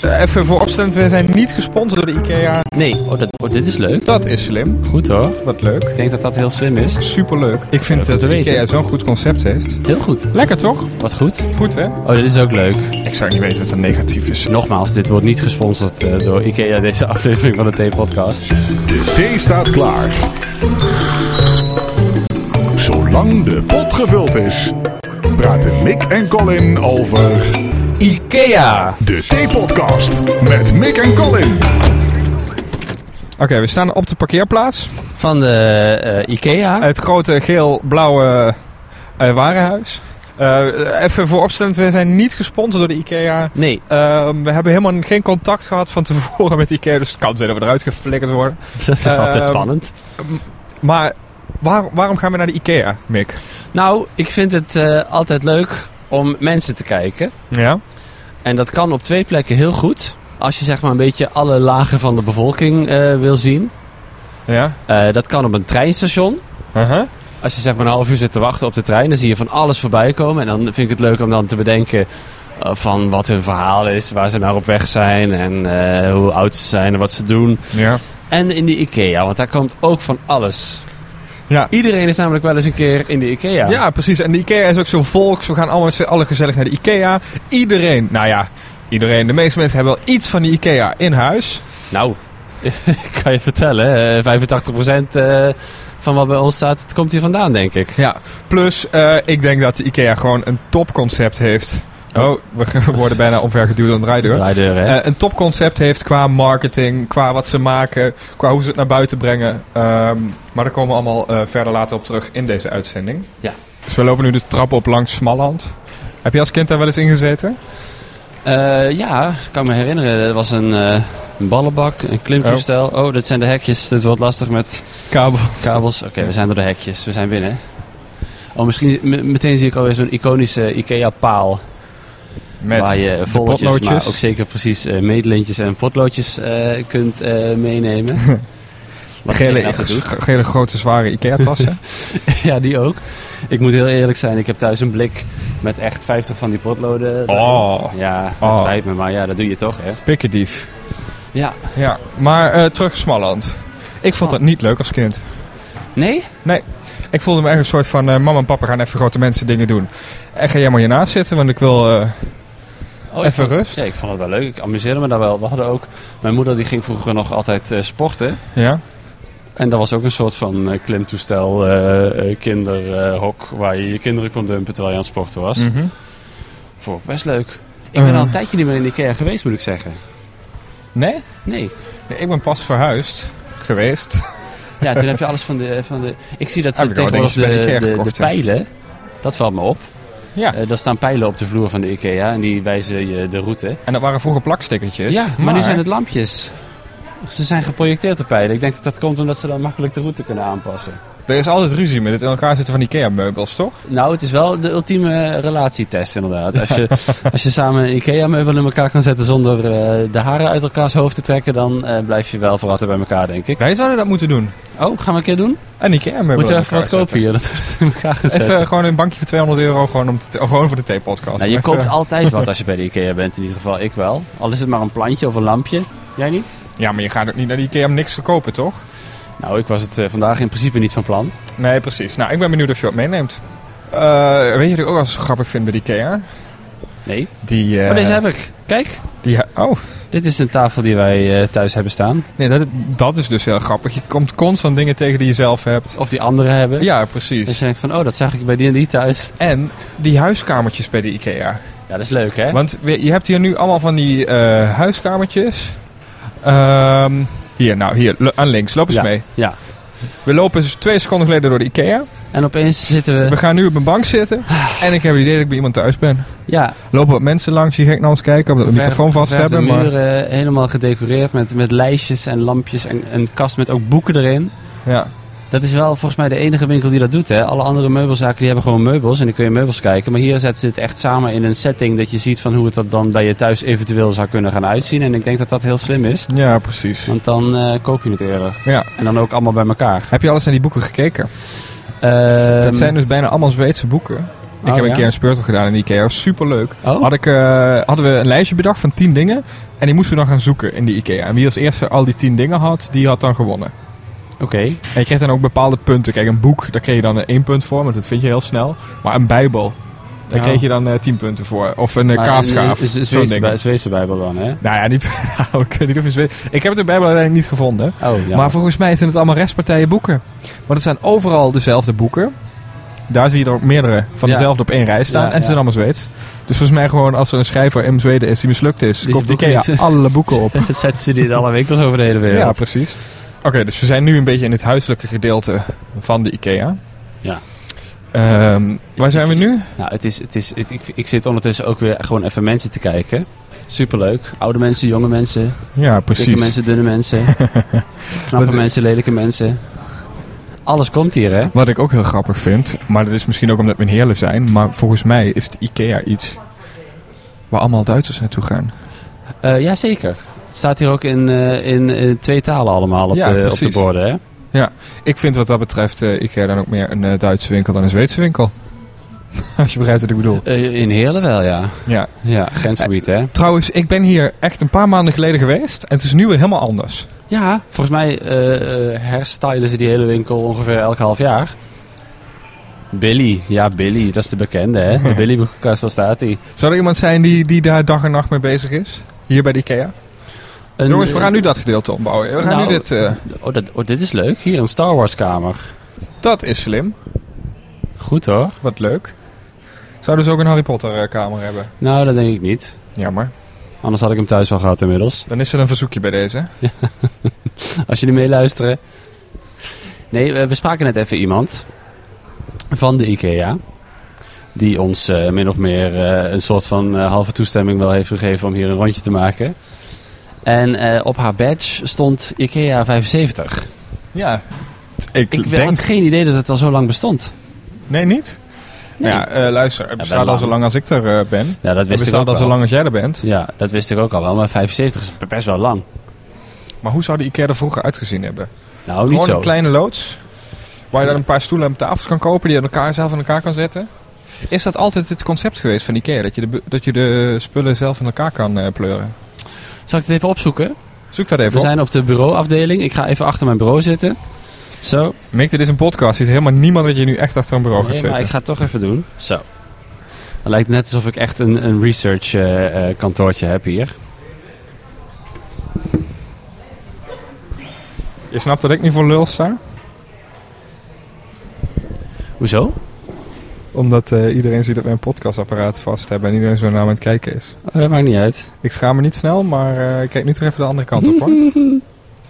Eh, even voor opstellend, we zijn niet gesponsord door de IKEA. Nee, oh, dat, oh, dit is leuk. Dat is slim. Goed hoor. Wat leuk. Ik denk dat dat heel slim is. Superleuk. Ik vind Goed dat te de weten. IKEA zo'n goed concept heeft. Heel goed. Lekker toch? Wat goed. Goed hè? Oh, dit is ook leuk. Ik zou niet weten wat er negatief is. Nogmaals, dit wordt niet gesponsord eh, door IKEA, deze aflevering van de T-podcast. De thee staat klaar. Zolang de pot gevuld is, praten Mick en Colin over IKEA! de Thee-podcast met Mick en Colin. Oké, we staan op de parkeerplaats. Van de eh, IKEA. Het grote geel-blauwe eh, warenhuis. Eh, even voor opstellend, we zijn niet gesponsord door de IKEA. Nee, Ehm, we hebben helemaal geen contact gehad van tevoren met IKEA. Dus het kan zijn dat we eruit geflikkerd worden. dat is altijd Ehm, spannend. Maar waar- waarom gaan we naar de IKEA, Mick? Nou, ik vind het eh, altijd leuk om mensen te kijken. Ja? En dat kan op twee plekken heel goed. Als je zeg maar een beetje alle lagen van de bevolking eh, wil zien. Ja? Eh, dat kan op een treinstation. Uh-huh. Als je zeg maar een half uur zit te wachten op de trein, dan zie je van alles voorbij komen. En dan vind ik het leuk om dan te bedenken eh, van wat hun verhaal is, waar ze nou op weg zijn en eh, hoe oud ze zijn en wat ze doen. Ja. En in de IKEA, want daar komt ook van alles. Ja. Iedereen is namelijk wel eens een keer in de IKEA. Ja, precies. En de IKEA is ook zo volks. We gaan allemaal met z'n allen gezellig naar de IKEA. Iedereen, nou ja, iedereen. De meeste mensen hebben wel iets van de IKEA in huis. Nou, ik kan je vertellen, eh, 85% eh, van wat bij ons staat, het komt hier vandaan, denk ik. Ja. Plus, eh, ik denk dat de IKEA gewoon een topconcept heeft. Oh, we worden bijna omvergeduwd aan de draaideur. Draaideur, hè? Eh, een topconcept heeft qua marketing, qua wat ze maken, qua hoe ze het naar buiten brengen. Ehm, maar daar komen we allemaal eh, verder later op terug in deze uitzending. Ja. Dus we lopen nu de trap op langs Smalland. Heb je als kind daar wel eens in gezeten? Eh, ja, ik kan me herinneren. Dat was een, eh, een ballenbak, een klimtoestel. Oh. dit zijn de hekjes. Dit wordt lastig met Kabel. kabels. Oké, we zijn door de hekjes. We zijn binnen. Oh, misschien m- meteen zie ik alweer zo'n iconische IKEA-paal. Met waar je de volletjes, potloodjes. maar ook zeker precies eh, meetlintjes en potloodjes eh, kunt eh, meenemen. Wat ik Gele, altijd doe. g- gele grote zware Ikea-tassen. Ja, die ook. Ik moet heel eerlijk zijn. Ik heb thuis een blik met echt 50 van die potloden. oh, Ja, dat Oh. spijt me. Maar ja, dat doe je toch, hè? pikkendief. Ja. Ja, maar eh, terug Smalland. Ik vond dat niet leuk als kind. Nee? Ik voelde me echt een soort van, eh, mama en papa gaan even grote mensen dingen doen. En ga jij maar hiernaast zitten, want ik wil... eh, Oh, ik Even vond- rust. Ja, ik vond het wel leuk. Ik amuseerde me daar wel. We hadden ook... Mijn moeder die ging vroeger nog altijd eh, sporten. ja? En dat was ook een soort van eh, klimtoestel, eh, eh, kinderhok... waar je je kinderen kon dumpen terwijl je aan het sporten was. Mhm. Vond ik best leuk. Ik ben Eh. al een tijdje niet meer in de IKEA geweest, moet ik zeggen. Nee? Nee. Nee, Ik ben pas verhuisd geweest. Ja, toen heb je alles van de... eh, Van de... Ik zie dat Heb ze ik al tegenwoordig dingetjes bij de de, IKEA de, de gekocht, ja. pijlen... Dat valt me op. Ja. Eh, daar staan pijlen op de vloer van de IKEA en die wijzen je de route. En dat waren vroeger plakstickertjes. ja, maar, nu zijn het lampjes. Ze zijn geprojecteerd de pijlen. Ik denk dat dat komt omdat ze dan makkelijk de route kunnen aanpassen. Er is altijd ruzie met het in elkaar zitten van Ikea-meubels, toch? Nou, het is wel de ultieme relatietest inderdaad. Als je, als je samen een IKEA-meubel in elkaar kan zetten zonder eh, de haren uit elkaars hoofd te trekken, dan eh, blijf je wel voor altijd bij elkaar, denk ik. Wij zouden dat moeten doen. Oh, gaan we een keer doen? Een Ikea-meubel Moeten we in even wat elkaar zetten. kopen hier? Dat we het in elkaar gaan zetten. Even gewoon een bankje voor 200 euro gewoon, om te- gewoon voor de theepodcast. nou, je Even- koopt altijd wat als je bij de IKEA bent, in ieder geval. Ik wel. Al is het maar een plantje of een lampje. Jij niet? Ja, maar je gaat ook niet naar de Ikea om niks te kopen, toch? Nou, ik was het eh, vandaag in principe niet van plan. Nee, precies. Nou, ik ben benieuwd of je wat meeneemt. Eh, weet je wat ik ook wel zo grappig vind bij de Ikea? Nee. Die, eh, Maar Oh, deze heb ik. Kijk, die, oh, dit is een tafel die wij eh, thuis hebben staan. nee, dat, dat is dus heel grappig. Je komt constant dingen tegen die je zelf hebt. Of die anderen hebben. Ja, Dus precies. je denkt van, oh, dat zag ik bij die en die thuis. En die huiskamertjes bij de Ikea. Ja, dat is leuk, hè? Want we- je hebt hier nu allemaal van die eh, huiskamertjes. Ehm, hier, nou, hier, lo- aan links. Loop eens Ja. mee. Ja. We lopen dus twee seconden geleden door de Ikea. En opeens zitten We we... gaan nu op een bank zitten. En ik heb het idee dat ik bij iemand thuis ben. Ja, Lopen wat mensen langs die gek naar ons kijken. Omdat we de verf- microfoon vast verfde hebben. Maar, muren helemaal gedecoreerd met, met lijstjes en lampjes en een kast met ook boeken erin. ja. Dat is wel volgens mij de enige winkel die dat doet, hè? Alle andere meubelzaken die hebben gewoon meubels en dan kun je meubels kijken. Maar hier zetten ze het echt samen in een setting dat je ziet van hoe het dat dan bij je thuis eventueel zou kunnen gaan uitzien. En ik denk dat dat heel slim is. ja, precies. Want dan eh, koop je het eerder. Ja. En dan ook allemaal bij elkaar. Heb je alles naar die boeken gekeken? Ehm, dat zijn dus bijna allemaal Zweedse boeken. Ik heb een keer een speurtocht gedaan in Ikea. Was superleuk. Oh? Had ik, eh, hadden we een lijstje bedacht van 10 dingen. En die moesten we dan gaan zoeken in de Ikea. En wie als eerste al die 10 dingen had, die had dan gewonnen. Oké. En je kreeg dan ook bepaalde punten. Kijk, een boek, daar kreeg je dan eh, één punt voor, want dat vind je heel snel. Maar een bijbel, daar Ja. kreeg je dan eh, tien punten voor. Of een eh, Maar kaasschaaf, Is, is, zo'n is, ding. bij, is Wees Bijbel dan, hè? Nou ja, niet, nou, ik weet niet of je het weet. Ik heb de bijbel uiteindelijk niet gevonden. Oh, ja. Maar volgens mij zijn het allemaal restpartijen boeken. Want het zijn overal dezelfde boeken. Daar zie je er ook meerdere van Ja. dezelfde op één rij staan. Ja, en ze ja. zijn allemaal Zweeds. Dus volgens mij gewoon als er een schrijver in Zweden is die mislukt is... Die koopt zijn Ikea boeken niet. alle boeken op. Zetten ze die in alle winkels over de hele Ja, wereld. precies. Oké, dus we zijn nu een beetje in het huiselijke gedeelte van de Ikea. Ja. Ehm, waar Het zijn we is- nu? Nou, het is, het is, het- ik, ik zit ondertussen ook weer gewoon even mensen te kijken. Superleuk. Oude mensen, jonge mensen, Ja, dikke precies. mensen, dunne mensen, knappe Wat- mensen, lelijke mensen. Alles komt hier, hè? Wat ik ook heel grappig vind, maar dat is misschien ook omdat we in Heerlen zijn... maar volgens mij is de Ikea iets waar allemaal Duitsers naartoe gaan. Eh jazeker. Het staat hier ook in, eh, in, eh, twee talen allemaal op, Ja, de, op de precies. borden, hè? Ik vind wat dat betreft eh Ikea dan ook meer een eh, Duitse winkel dan een Zweedse winkel. Als je begrijpt wat ik bedoel. Eh, in Heerlen wel, ja. Ja. Ja, grensgebied, hè? Trouwens, ik ben hier echt een paar maanden geleden geweest. En het is nu weer helemaal anders. Ja, volgens mij eh, eh, herstylen ze die hele winkel ongeveer elk half jaar. Billy, ja Billy, dat is de bekende hè. De Billy boekenkast, daar staat hij. Zou er iemand zijn die, die daar dag en nacht mee bezig is? Hier bij de Ikea? Een- eh, Jongens, we gaan nu dat gedeelte ombouwen. We gaan Nou, nu dit... eh, Oh, dat, oh, dit is leuk. Hier een Star Wars kamer. dat is slim. Goed hoor. Wat leuk. Zouden ze ook een Harry Potter eh, kamer hebben? Nou, dat denk ik niet. Jammer. Anders had ik hem thuis wel gehad inmiddels. Dan is er een verzoekje bij deze. Als jullie meeluisteren. Nee, we, we spraken net even iemand van de IKEA. Die ons eh, min of meer eh, een soort van eh, halve toestemming wel heeft gegeven om hier een rondje te maken. En eh, op haar badge stond IKEA 75. Ja. Ik, Ik denk... had geen idee dat het al zo lang bestond. Nee, niet? Nee. Nou ja, eh, luister. Het bestaat al lang. zo lang als ik er eh, ben. Ja, dat Het wist ik ook bestaat al zo wel. lang als jij er bent. Ja, dat wist ik ook al wel. Maar 75 is best wel lang. Maar hoe zou de Ikea er vroeger uitgezien hebben? Nou, niet Gewoon zo. een kleine loods. Waar je dan een paar stoelen en tafels kan kopen die je aan elkaar, zelf aan elkaar kan zetten. Is dat altijd het concept geweest van Ikea? Dat je de, bu- dat je de spullen zelf in elkaar kan eh, pleuren? Zal ik het even opzoeken? Zoek dat even We op. zijn op de bureauafdeling. Ik ga even achter mijn bureau zitten. Zo. Mick, dit is een podcast. Je ziet helemaal niemand dat je nu echt achter een bureau gaat Nee, maar zitten. ik ga het toch even doen. Zo. Het lijkt net alsof ik echt een, een research eh, eh, kantoortje heb hier. Je snapt dat ik niet voor lul sta? Hoezo? Omdat eh, iedereen ziet dat wij een podcastapparaat vast hebben en iedereen zo naar me aan het kijken is. Oh, dat maakt niet uit. Ik schaam me niet snel, maar eh, ik kijk nu toch even de andere kant op hoor.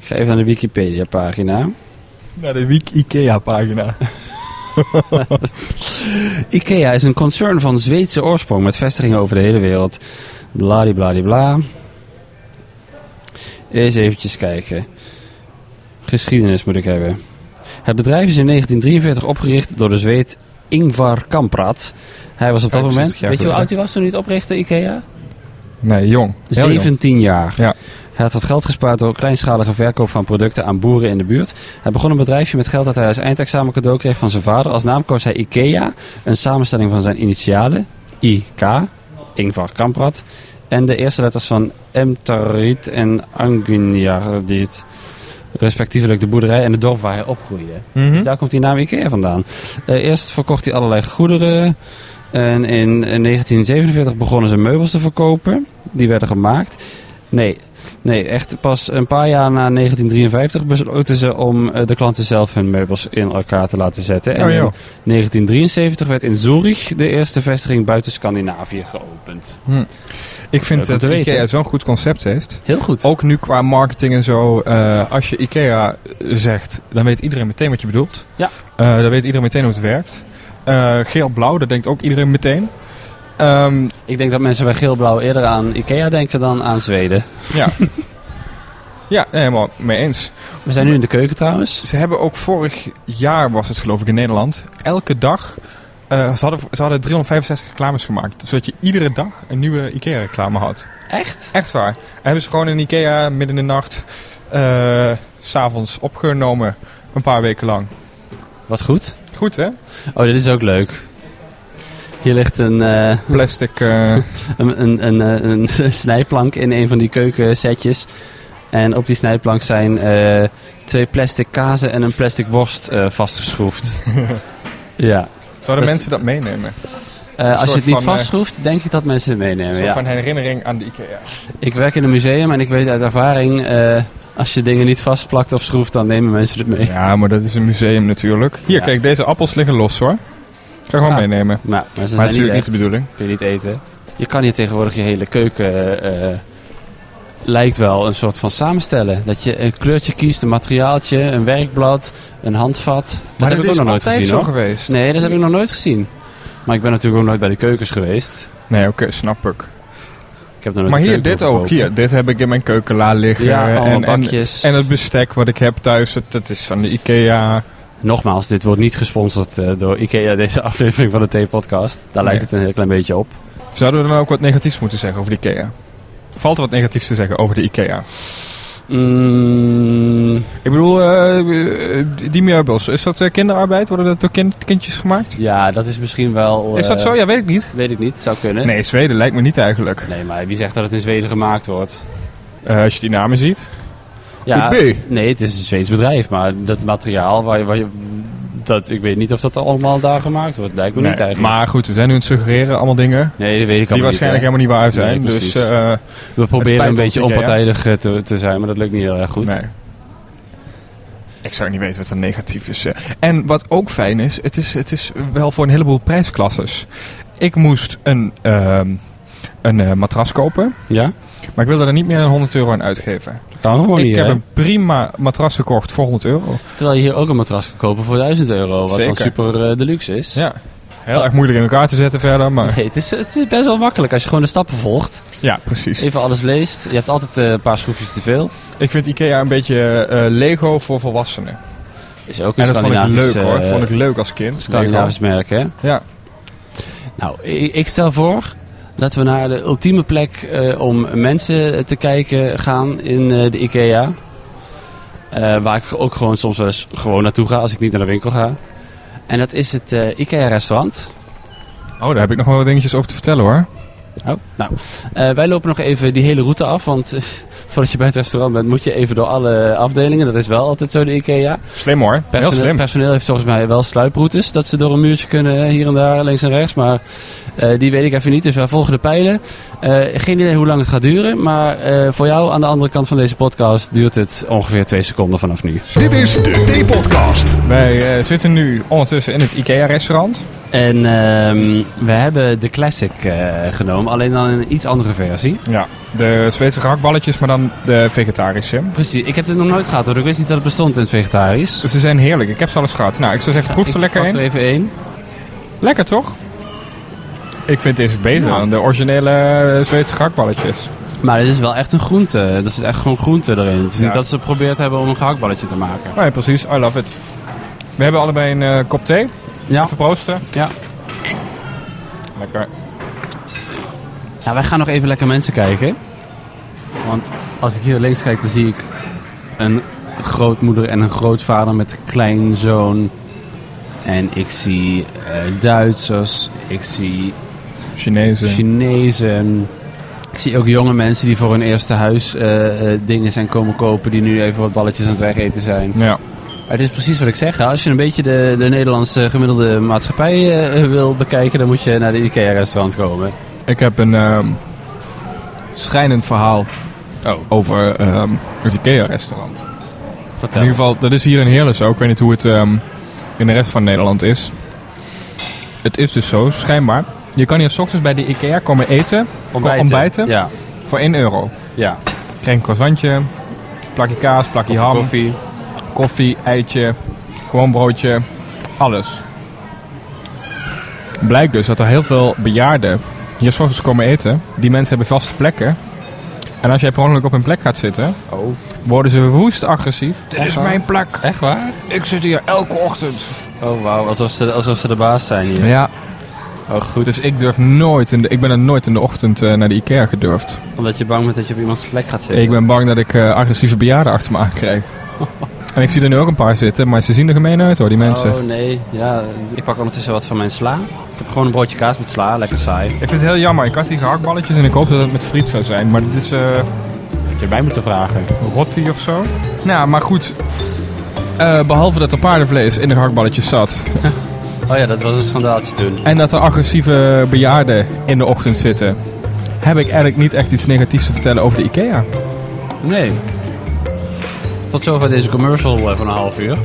Ik ga even naar de Wikipedia pagina. Naar de Week Ikea pagina. IKEA is een concern van Zweedse oorsprong met vestigingen over de hele wereld. Bladibladibla. Eens eventjes kijken. Geschiedenis moet ik hebben. Het bedrijf is in 1943 opgericht door de Zweed Ingvar Kamprad. Hij was op 65 dat moment... jaar Weet je hoe geleden. oud hij was toen hij het oprichtte, IKEA? Nee, jong. Heel jong. 17 jaar. Ja. Hij had wat geld gespaard door kleinschalige verkoop van producten aan boeren in de buurt. Hij begon een bedrijfje met geld dat hij als eindexamen cadeau kreeg van zijn vader. Als naam koos hij IKEA, een samenstelling van zijn initialen, IK, Ingvar Kamprad, en de eerste letters van Emtarit en Angunyardit. Respectievelijk de boerderij en het dorp waar hij opgroeide. Mhm. Dus daar komt die naam IKEA vandaan. Eh, eerst verkocht hij allerlei goederen. En in eh, 1947 begonnen ze meubels te verkopen. Die werden gemaakt. Nee, nee, echt pas een paar jaar na 1953 besloten ze om eh, de klanten zelf hun meubels in elkaar te laten zetten. En Oh, joh. in 1973 werd in Zurich de eerste vestiging buiten Scandinavië geopend. Ik vind Leuk om dat te weten. Ikea zo'n goed concept heeft. Heel goed. Ook nu qua marketing en zo. eh, als je Ikea zegt, dan weet iedereen meteen wat je bedoelt. Ja. Eh, dan weet iedereen meteen hoe het werkt. Eh, Geel-blauw, dat denkt ook iedereen meteen. Ehm, Ik denk dat mensen bij Geelblauw eerder aan IKEA denken dan aan Zweden. ja, nee, helemaal mee eens. We zijn nu in de keuken trouwens. Ze hebben ook vorig jaar, was het geloof ik in Nederland, elke dag... eh, ze, hadden, ze hadden 365 reclames gemaakt. Zodat je iedere dag een nieuwe Ikea-reclame had. Echt? Echt waar. En hebben ze gewoon in Ikea midden in de nacht... eh, s s'avonds opgenomen. Een paar weken lang. Wat goed. Goed hè? Oh, dit is ook leuk. Hier ligt een, eh, Plastic. eh, een, een, een, eh, een snijplank in een van die keukensetjes. En op die snijplank zijn eh, twee plastic kazen en een plastic worst eh, vastgeschroefd. ja. zouden Dat- mensen dat meenemen? Eh, als soort je het niet van, eh, vastschroeft, denk ik dat mensen het Een meenemen. soort Ja. van herinnering aan de IKEA. Ik werk in een museum en ik weet uit ervaring, eh, als je dingen niet vastplakt of schroeft, dan nemen mensen het mee. Ja, maar dat is een museum natuurlijk. Hier, Ja. kijk, deze appels liggen los hoor. Ik ga gewoon Ah. meenemen. Maar, maar ze Maar dat is natuurlijk zijn niet, niet echt, de bedoeling. kun je niet eten. Je kan hier tegenwoordig je hele keuken, eh, eh, lijkt wel, een soort van samenstellen. Dat je een kleurtje kiest, een materiaaltje, een werkblad, een handvat. maar dat heb dat ik ook is nog nooit altijd gezien zo hoor. geweest. Nee, dat heb ik nog nooit gezien. Maar ik ben natuurlijk ook nooit bij de keukens geweest. Nee, oké, snap ik. Ik heb nog nooit Maar een hier, keuken dit ook. opgekocht. Hier, dit heb ik in mijn keukenla liggen. Ja, allemaal en, en, bakjes. en het bestek wat ik heb thuis, het- dat is van de IKEA. Nogmaals, dit wordt niet gesponsord eh, door IKEA, deze aflevering van de T-podcast. Daar lijkt Nee. het een heel klein beetje op. Zouden we dan ook wat negatiefs moeten zeggen over de IKEA? Valt er wat negatiefs te zeggen over de IKEA? Mm, Ik bedoel, eh, eh, die meubels, is dat eh, kinderarbeid? Worden dat door kind- kindjes gemaakt? ja, dat is misschien wel... Is dat eh, zo? Ja, weet ik niet. Weet ik niet, zou kunnen. Nee, Zweden lijkt me niet eigenlijk. Nee, maar wie zegt dat het in Zweden gemaakt wordt? Eh, als je die namen ziet. Ja, Coupé. nee, het is een Zweeds bedrijf, maar dat materiaal waar je... Waar je dat, ik weet niet of dat allemaal daar gemaakt wordt. Lijkt me Nee, niet eigenlijk. maar goed, we zijn nu aan het suggereren, allemaal dingen. nee, dat weet ik die allemaal waarschijnlijk niet. helemaal niet waar zijn. Nee, dus precies. eh, hè. We proberen spijt een ons, beetje IKEA. onpartijdig eh, te, te zijn, maar dat lukt niet heel erg goed. nee. Ik zou niet weten wat er negatief is. eh. En wat ook fijn is, het is, het is wel voor een heleboel prijsklasses. Ik moest een, ehm, een eh, matras kopen, Ja? maar ik wilde er niet meer dan 100 euro aan uitgeven. Dat kan gewoon ik niet, heb hè? een prima matras gekocht voor 100 euro. Terwijl je hier ook een matras kan kopen voor 1000 euro, wat dan Zeker. super eh, deluxe is. Ja. Heel erg moeilijk in elkaar te zetten verder, maar... Nee, het, is, het is best wel makkelijk als je gewoon de stappen volgt. Ja, precies. Even alles leest. Je hebt altijd eh, een paar schroefjes te veel. Ik vind Ikea een beetje eh, Lego voor volwassenen. Is ook een En dat vond ik Scandinavisch, leuk hoor. eh, Vond ik leuk als kind. Lego. Scandinavisch merk, hè? Ja. Nou, ik, ik stel voor dat we naar de ultieme plek eh, om mensen te kijken gaan in eh, de IKEA. Eh, waar ik ook gewoon soms wel eens gewoon naartoe ga als ik niet naar de winkel ga. En dat is het eh, IKEA-restaurant. Oh, daar heb ik nog wel wat dingetjes over te vertellen hoor. Oh, nou, eh, wij lopen nog even die hele route af, want eh, voordat je bij het restaurant bent moet je even door alle afdelingen. Dat is wel altijd zo de IKEA. Slim hoor. Heel Personeel, slim. personeel heeft volgens mij wel sluiproutes, dat ze door een muurtje kunnen eh, hier en daar, links en rechts. Maar eh, die weet ik even niet, dus wij volgen de pijlen. Eh, geen idee hoe lang het gaat duren, maar eh, voor jou aan de andere kant van deze podcast duurt het ongeveer twee seconden vanaf nu. Dit is de T-podcast. Wij eh, zitten nu ondertussen in het Ikea-restaurant. En ehm, we hebben de classic eh, genomen, alleen dan een iets andere versie. Ja. De Zweedse gehaktballetjes, maar dan de vegetarische. Precies, ik heb dit nog nooit gehad hoor, ik wist niet dat het bestond in het vegetarisch. Ze zijn heerlijk. Ik heb ze al eens gehad. Nou, ik zou zeggen, proef er Ik lekker pak in. er even één. Lekker toch? Ik vind deze beter Ja. dan de originele eh, Zweedse gehaktballetjes. Maar dit is wel echt een groente. Er zit echt gewoon groente erin. Het is Ja. niet dat ze geprobeerd hebben om een gehaktballetje te maken. Nee, precies. I love it. We hebben allebei een eh, kop thee. Ja, Even proosten. ja. Lekker. ja, wij gaan nog even lekker mensen kijken. Want als ik hier links kijk, dan zie ik een grootmoeder en een grootvader met een kleinzoon. En ik zie eh, Duitsers, ik zie Chinezen. Chinezen. Ik zie ook jonge mensen die voor hun eerste huis eh, eh, dingen zijn komen kopen, die nu even wat balletjes aan het wegeten zijn. ja. Maar het is precies wat ik zeg. hè. Als je een beetje de, de Nederlandse gemiddelde maatschappij eh, wil bekijken, dan moet je naar de IKEA-restaurant komen. Ik heb een ehm, schrijnend verhaal Oh, over ehm, het IKEA-restaurant. In vertel. ieder geval, dat is hier in Heerlen zo. Ik weet niet hoe het ehm, in de rest van Nederland is. Het is dus zo, schijnbaar. Je kan hier 's ochtends bij de IKEA komen eten Ontbijten. ontbijten? Ja, voor 1 euro. ja. Krijg een croissantje, plakje kaas, plakje ham, koffie. Koffie. eitje, gewoon broodje, alles. Blijkt dus dat er heel veel bejaarden hier 's ochtends komen eten. Die mensen hebben vaste plekken. En als jij per ongeluk op hun plek gaat zitten, Oh. worden ze woest agressief. Dit Echt is waar? mijn plek. Echt waar? Ik zit hier elke ochtend. Oh, wauw. Alsof ze, alsof ze de baas zijn hier. Ja, Oh, goed. dus ik durf nooit in de, ik ben er nooit in de ochtend eh, naar de IKEA gedurfd. Omdat je bang bent dat je op iemands plek gaat zitten. Ik ben bang dat ik eh, agressieve bejaarden achter me aan krijg. En ik zie er nu ook een paar zitten, maar ze zien er gemeen uit hoor, die mensen. Oh nee, ja. Ik pak ondertussen wat van mijn sla. Ik heb gewoon een broodje kaas met sla, lekker saai. Ik vind het heel jammer. Ik had die gehaktballetjes en ik hoopte dat het met friet zou zijn. Maar dit is eh Had je mij moeten vragen. rotti of zo. Nou, maar goed. Eh, behalve dat er paardenvlees in de gehaktballetjes zat. Oh ja, dat was een schandaaltje toen. En dat er agressieve bejaarden in de ochtend zitten. Heb ik eigenlijk niet echt iets negatiefs te vertellen over de IKEA. Nee. Tot zover deze commercial eh, van een half uur.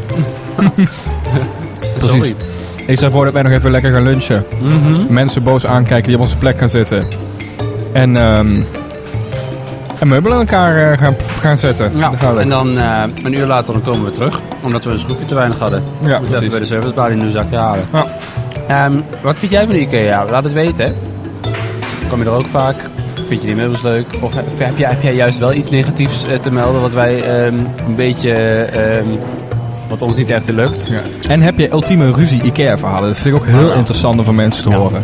Sorry. Ik zei voor dat wij nog even lekker gaan lunchen. Mhm. Mensen boos aankijken die op onze plek gaan zitten. En, ehm en meubelen aan elkaar eh, gaan, gaan zetten. Ja, Daar gaan we. en dan eh, een uur later dan komen we terug. Omdat we een schroefje te weinig hadden. Ja, Moeten we precies. even bij de servicebalie een nieuw zakje halen. Ja. Ehm, wat vind jij van de IKEA? Laat het weten. hè. Kom je er ook vaak? Vind je die meubels leuk? Of heb heb jij, heb jij juist wel iets negatiefs eh, te melden wat wij ehm, een beetje... ehm, wat ons niet echt lukt? En heb je ultieme ruzie IKEA-verhalen? Dat vind ik ook heel interessant om van mensen te Ja. horen.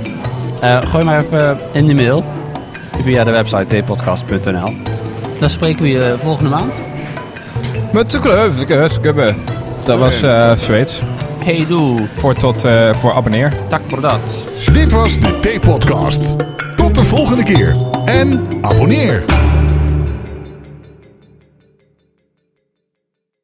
Eh, gooi maar even in de mail via de website tpodcast.nl. Dan spreken we je volgende maand. Met de kleur, de kleur, skubben. Dat was eh Zweeds. Hey doe, Voor, tot, eh, voor abonneer. tak voor dat. Dit was de T-podcast. Tot de volgende keer en abonneer.